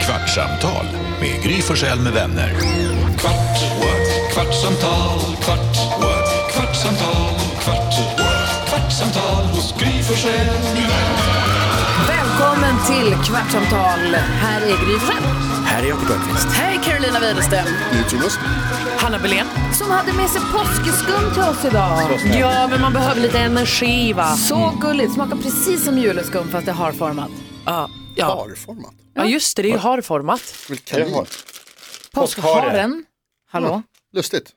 Kvartsamtal med Gry Forssell med vänner. Kvart, what? kvartsamtal, kvart, what? kvartsamtal, kvart, what? kvartsamtal, Gry Forssell med vänner. Välkommen till Kvartsamtal. Här är Gry Forssell. Här är Jakob Öqvist. Här är Carolina Widerström. Jonas. Hanna Belén. Som hade med sig påskeskum till oss idag. Ja, men man behöver lite energi va? Så gulligt. Smakar precis som juleskum fast det har format. Ja, ja. Parformat. ja just det, det är ju harformat. Väl kanin. Påskharen. Hallå? Lustigt.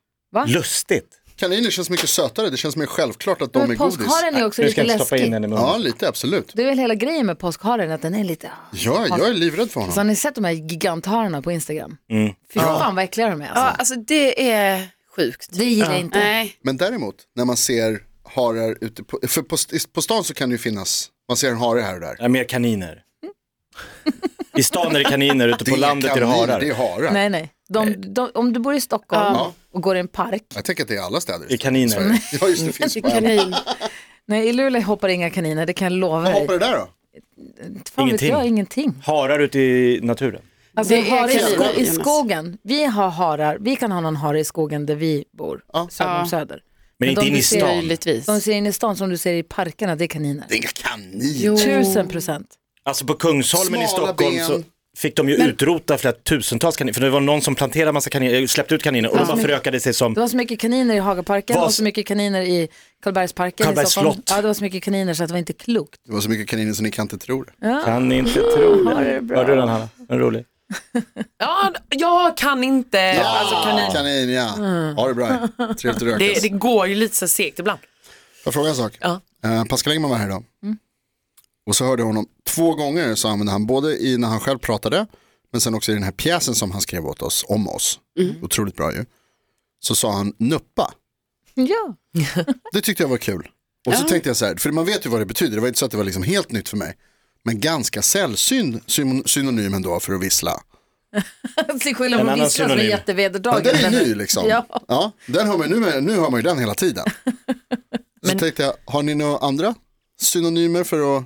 Lustigt. Kaniner känns mycket sötare. Det känns mer självklart att de är Men godis. påskharen är också Du ska lite inte stoppa in läskig. den i munnen. Ja, lite absolut. Det är väl hela grejen med påskharen att den är lite... Ja, jag är livrädd för Så har honom. ni sett de här giganthararna på Instagram? Fy fan vad äckliga de är alltså. Alltså det är sjukt. Det gillar jag inte. Nej, Men däremot, när man ser harar ute på, för på, på stan så kan det ju finnas, man ser en hare här och där. Ja, mer kaniner. I stan är det kaniner, ute på landet är det kaniner, harar. Det är harar. Nej, nej. De, de, om du bor i Stockholm Ja. och går i en park. Jag tänker att det är alla städer. Det är kaniner. Sverige. Ja, just det, finns bara en. kanin. Nej, i Luleå hoppar inga kaniner, det kan jag lova Vad dig. hoppar det där då? Fan vet Ingenting. jag, ingenting. Harar ute i naturen. Alltså, Det är har i, kaniner, sko- i Jonas. skogen, vi har harar, vi kan ha någon hare i skogen där vi bor, söder om söder. Men, inte de in i du ser- stan. Möjligtvis. De ser in i stan som du ser i parkerna, det är kaniner. Det är inga kaniner. Tusen procent. Alltså på Kungsholmen i Smala Stockholm ben. så fick de ju utrota flera tusentals kaniner. För det var någon som planterade massa kaniner, eh, släppte ut kaniner och de bara förökade sig Det som, var så mycket kaniner i Hagaparken, det var Vad- så mycket kaniner i Karlbergsparken i Karlbergs Stockholm. slott. Ja, det var så mycket kaniner så att det var inte klokt. Det var så mycket kaniner som ni kan inte tro det. kan ni inte tro det. Hörde du den Hanna? Den är rolig. Ja, jag kan inte. Alltså, kanin. Kanin, ja. Ha det bra. Trevligt att Det, rökas. det går ju lite så segt ibland. Får jag fråga en sak? Ja. Eh, Pascal Engman var här idag. Och så hörde jag honom två gånger så använde han både i när han själv pratade men sen också i den här pjäsen som han skrev åt oss om oss. Otroligt bra ju. Så sa han nuppa. Ja. Det tyckte jag var kul. Och så tänkte jag så här, för man vet ju vad det betyder. Det var inte så att det var liksom helt nytt för mig. Men ganska sällsynt syn- synonym ändå för att vissla. Till skillnad En från annan visslan som är synonym. Ja, jättevedertagen. den är ny liksom. Ja. den hör man, ju- nu, nu hör man ju den hela tiden. Så tänkte jag, har ni några andra synonymer för att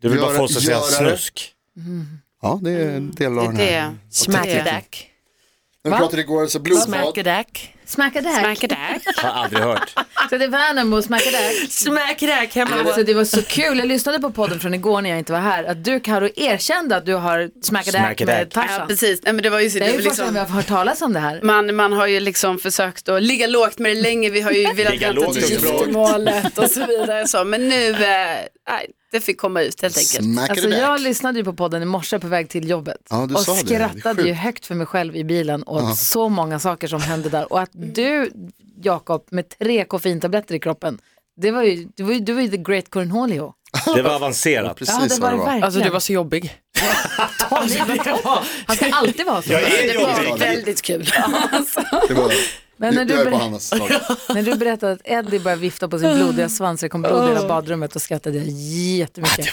Du vill bara Göra- få oss att säga göra det. snusk. Ja, det är Mm. en del av den Det här. Mm. är Smackedack. När vi pratade igår så blodbad. Smackedack. Smackadack. Smackedack. Har aldrig hört. Så det är Värnamo, smackadack. Smackedack hemma. Alltså det var så kul, jag lyssnade på podden från igår när jag inte var här, att du Karo erkände att du har smackat Smack med attack. Tarzan. Ja, precis. Nej, men det var ju, det det är var ju första gången vi liksom, har hört talas om det här. man, man har ju liksom försökt att ligga lågt med det länge. Vi har ju velat Ligga vänta lågt till och bra. giftermålet och så vidare. Så. Men nu, eh, nej, det fick komma ut helt enkelt. Smack Alltså it back. jag lyssnade ju på podden i morse på väg till jobbet Ja, du och sa det. Det är skrattade ju sjukt. högt för mig själv i bilen åt så många saker som hände där och att du Jakob med tre koffeintabletter i kroppen, det var ju, det var ju, du var ju the great Cornholio. Det var avancerat. Precis Ja det var vad det det var. verkligen. Alltså du var så jobbig. Han ska alltid vara så. Jag är Det var jobbig. väldigt kul. Det Alltså. var Men när jag du, är på ber- Hannas lag. när du berättade att Eddie började vifta på sin blodiga svans, det kom blod i hela badrummet och skrattade jag jättemycket.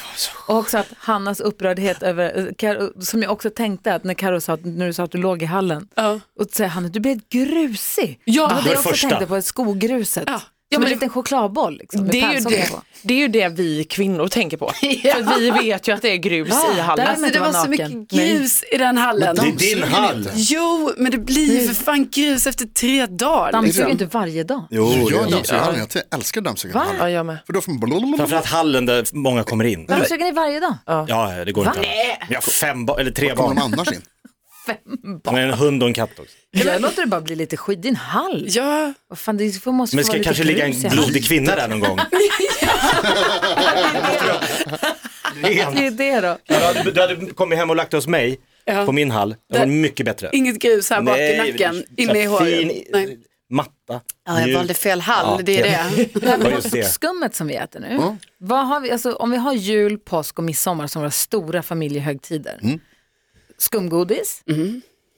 Och också att Hannas upprördhet över, eh, Karo, som jag också tänkte att när Karo sa att, när du sa att du låg i hallen, Ja. och så säger Hanna, du blev grusig. Ja. det var Det det var jag också första. tänkte på, skolgruset. Ja. Ja, Som men- en liten chokladboll. Liksom, med Det är, ju pärlsocker det, på. det är ju det vi kvinnor tänker på. För vi vet ju att det är grus i hallen. där- Alltså, det var så mycket grus i den hallen. Det är din hall. Jo, men det blir ju för fan grus efter tre dagar. Dammsuger inte varje dag. Jo, det Jag är- dammsugarhallen, jag t- älskar dammsugarhallen. Ja, jag med. För då får man... Framförallt hallen där många kommer in. Dammsuger ni varje dag? Ja, det går inte. Vi har fem barn, eller tre Kommer de barn. annars in? Men en hund och en katt också. Jag låter det bara bli lite skit. Din hall. Ja, Vad fan, det får- måste Men få ska vara lite kanske ligga en grus i blodig kvinna där någon gång. hallen. Det Ren. är det då. Du hade, du hade kommit hem och lagt dig hos mig Ja. på min hall. Det var mycket bättre. inget grus här bak i Nej, nacken, så inne i håret. Fin Nej. matta. Ja, jag mjuk. valde fel hall, Ja, det är det. Det här Ja, just det. påskskummet som vi äter nu. Mm. Vad har vi, alltså, om vi har jul, påsk och midsommar som våra stora familjehögtider. Mm. Skumgodis,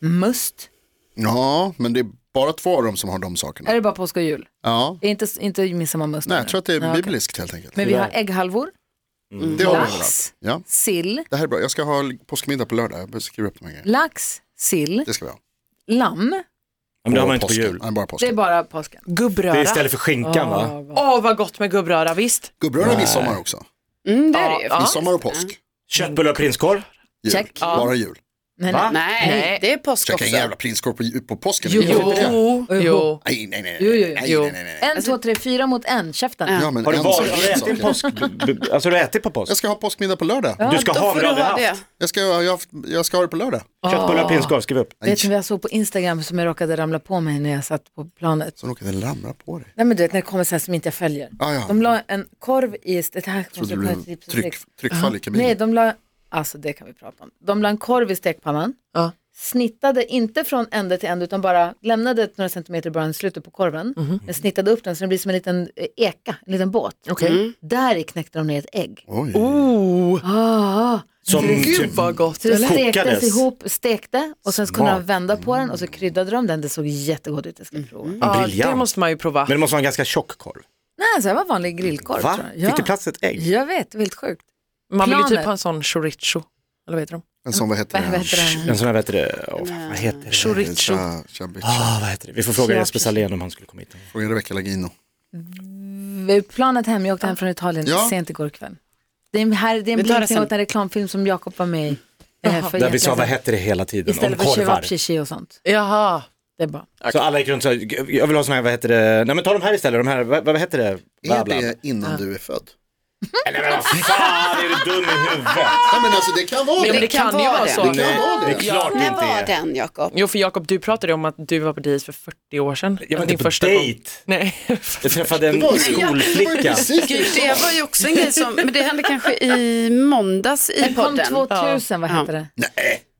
must. Ja, men det är bara två av dem som har de Är sakerna. det bara påsk och jul? Ja, Är Inte, inte midsommar must? nej jag tror att det Ja, är okej. bibliskt helt enkelt. Men vi har ägghalvor, Det har vi Lax. överallt. Ja, sill, det här är bra. Jag ska ha påskmiddag på lördag. Jag behöver skriva upp de här grejerna. lax, sill, Det ska vi ha. lamm. Men det har man inte på påsken. jul. Nej, bara Det är påsken. bara påsken. Det är Gubbröra. istället för skinkan va? Åh vad gott med gubbröra, visst? Gubbröra är midsommar också. Mm, det är det ju. Ja. Midsommar och påsk. Köttbullar och prinskorv. Jul. Check. Bara jul. Nej, Va? Nej, Nej. det är påsk Käka också. en jävla prinskorv på, på påsken. Jo. Det är inte det. Jo, jo. Nej, nej, nej. Jo, jo, jo. nej, Jo. nej, nej, nej. En, två, tre, fyra mot en, käften. Ja, men Har du, en varit, sak- har du ätit en saker. påsk? b- b- Alltså har du ätit på påsk? Jag ska ha påskmiddag på lördag. Du ska Då ha får vad du du ha aldrig det. haft. Jag, ska, jag, har haft- jag ska ha det på lördag. Köttbullar och prinskorv, skriv upp. Vet ni vad jag såg på Instagram som jag råkade ramla på mig när jag satt på planet? Så råkade det ramla på dig. Nej men du vet när det kommer så här som inte jag följer. Ah, ja. De la en korv i, det här Trodde kanske det var ett blev tips och tryck, tricks. tryckfall i typ Nej, kaminen. de la, alltså det kan vi prata om. De la en korv i stekpannan, Ja. snittade inte från ände till ände utan bara lämnade ett några centimeter bara i slutet på korven. Men snittade upp den så den blir som en liten eh, eka, en liten båt. Mm. Där i knäckte de ner ett ägg. Oj. Ah, Som Gud typ, vad gott. så det eller? stektes Kokades. ihop, stekte och sen så kunde Smart. Mm. de vända på den och så kryddade de den. Det såg jättegott ut, jag ska prova. Ja, det briljant. måste man ju prova. Men det måste vara en ganska tjock korv. Nej, så här var vanlig grillkorv Va? tror jag. Fick det plats ett ägg? Jag vet, det är helt sjukt. Man vill ju typ planet. ha en sån chorizo. Eller vad heter de? En sån, vad heter Vad det? heter det? En sån här, vad heter det? Åh, fan, vad heter det? Chorizo. Tja, tja, bitch. Ah, vad heter det? Vi får fråga Jesper Salén om han skulle komma hit. Fråga Rebecca Lagino. Vi- Planet hem, jag åkte hem från Italien Ja. sent igår kväll. Det är en, här, det är en Vi tar det blinkning sen. åt en reklamfilm som Jakob var med i. eh, för Där vi sa, jättelänge vad sedan. heter det hela tiden? Istället om för korvar. kebab, shishi och sånt. Jaha. Det är bara. Så alla gick runt och sa, jag vill ha sån här, vad heter det? Nej men ta de här istället, de här, vad, vad heter det? Bla, Är bla. det innan du är född? Nej men vad fan, är du dum i huvudet? Ja, men alltså det kan vara Men det. det kan ju vara vara det. så. Det kan vara Det är det. klart det När inte var är. den Jakob? Jo, för Jakob, du pratade om att du var på DIS för 40 år sedan. Jag var Din inte på första gång. dejt. Nej. Jag träffade Det var en ju- Det var ju skolflicka. precis Gud, det var ju också en grej som, men det hände kanske i måndags i Den kom podden. 2000, vad heter det?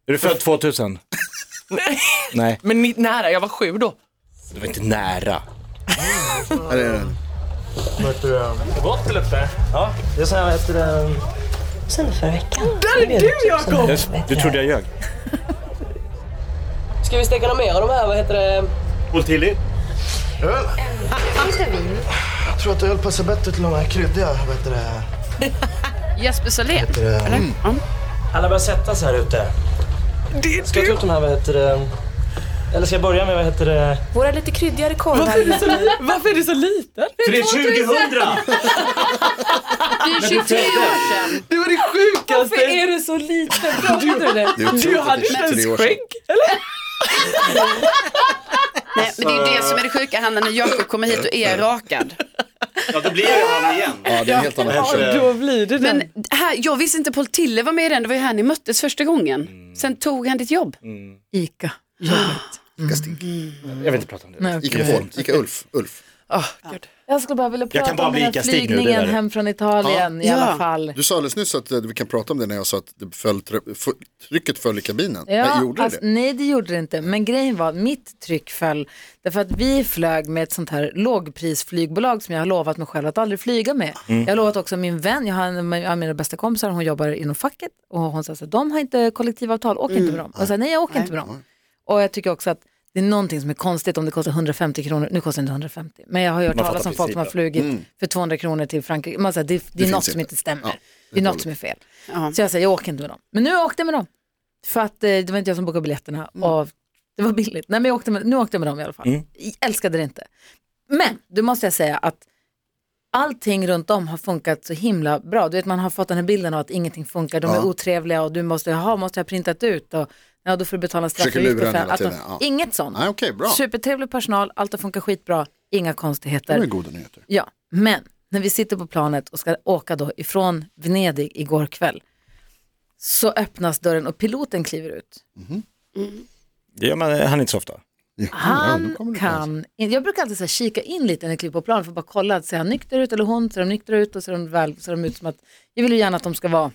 Är du född 2000? Nej. Nej, Men ni- nära, jag var sju då. det var inte nära. Här är den. Gott eller uppe? Ja, det är så här, vad heter det? sen förra veckan. Jag, du trodde jag ljög. Ska vi steka några mer av de här, vad heter det? Poltilli? Lite vin. Jag tror att öl passar bättre till de här kryddiga, vad heter det? Mm. Jesper Salén. Alla börjar sätta sig här ute. Ska jag ta ut de här, vad heter det? Eller ska jag börja med, vad heter det? Våra lite kryddigare korvar. Varför är det så liten? För det är 2000! Det är 23 år sedan. Det var det sjukaste. Varför är du så liten? Pratade du det? Det är otroligt att det är 23 år sedan. Nej, men det är det som är det sjuka Hanna, när Jakob kommer hit och är rakad. Ja, då blir jag han igen. Ja, det är en helt annan person. Kanske- Då blir det den. Men här, jag visste inte Paul Tille var med i den, det var ju här ni möttes första gången. Mm. Sen tog han ditt jobb. Ica. Jag vill inte prata om det. Nej, Ica Form, Ica Ulf. Ulf. Ah, gud. Jag skulle bara vilja Jag prata kan bara om den här bli Ica-Stig nu, det flygningen där. hem från Italien i Ja. alla fall. Du sa alldeles nyss att eh, vi kan prata om det när jag sa att det föll, tr- f- trycket föll i kabinen. Ja, Nej, gjorde alltså, det det? Nej, det gjorde det inte. Men grejen var att mitt tryck föll därför att vi flög med ett sånt här lågprisflygbolag som jag har lovat mig själv att aldrig flyga med. Jag har lovat också min vän, jag har en jag har mina bästa kompisar, hon jobbar inom facket och hon sa att de har inte kollektivavtal, åk inte med dem. Jag sa nej, jag åker inte med dem. Och jag tycker också att det är någonting som är konstigt om det kostar 150 kronor, nu kostar det inte 150, men jag har ju hört Man talas fattar om folk som har flugit för 200 kronor till Frankrike. Man säger, det, det, är något finns som inte. inte stämmer, Ja, det är något som är fel. Så jag säger, jag åker inte med dem. Men nu åkte jag med dem. För att eh, det var inte jag som bokade biljetterna och det var billigt. Nej, men jag åkte med, nu åkte jag med dem i alla Mm. fall. Jag älskade det inte. Men då måste jag säga att allting runt om har funkat så himla bra. Du vet man har fått den här bilden av att ingenting funkar, de är otrevliga och du måste, ha måste jag ha printat ut och ja, då får du betala en straffavgift. Försöker lura för en hela att de, tiden, ja. Inget sånt. Nej, okej, bra. Supertrevlig personal, allt har funkat skitbra, inga Det var konstigheter. ju goda nyheter. Ja, men när vi sitter på planet och ska åka då ifrån Venedig igår kväll så öppnas dörren och piloten kliver ut. Det gör man, eh, han är inte så ofta. Ja, ja, Han då kommer det kanske. kan, in, jag brukar alltid så här kika in lite när jag kliver på plan för att bara kolla, att ser han nykter ut eller hon, ser de nyktra ut och ser de, väl, ser de ut som att, jag vill ju gärna att de ska vara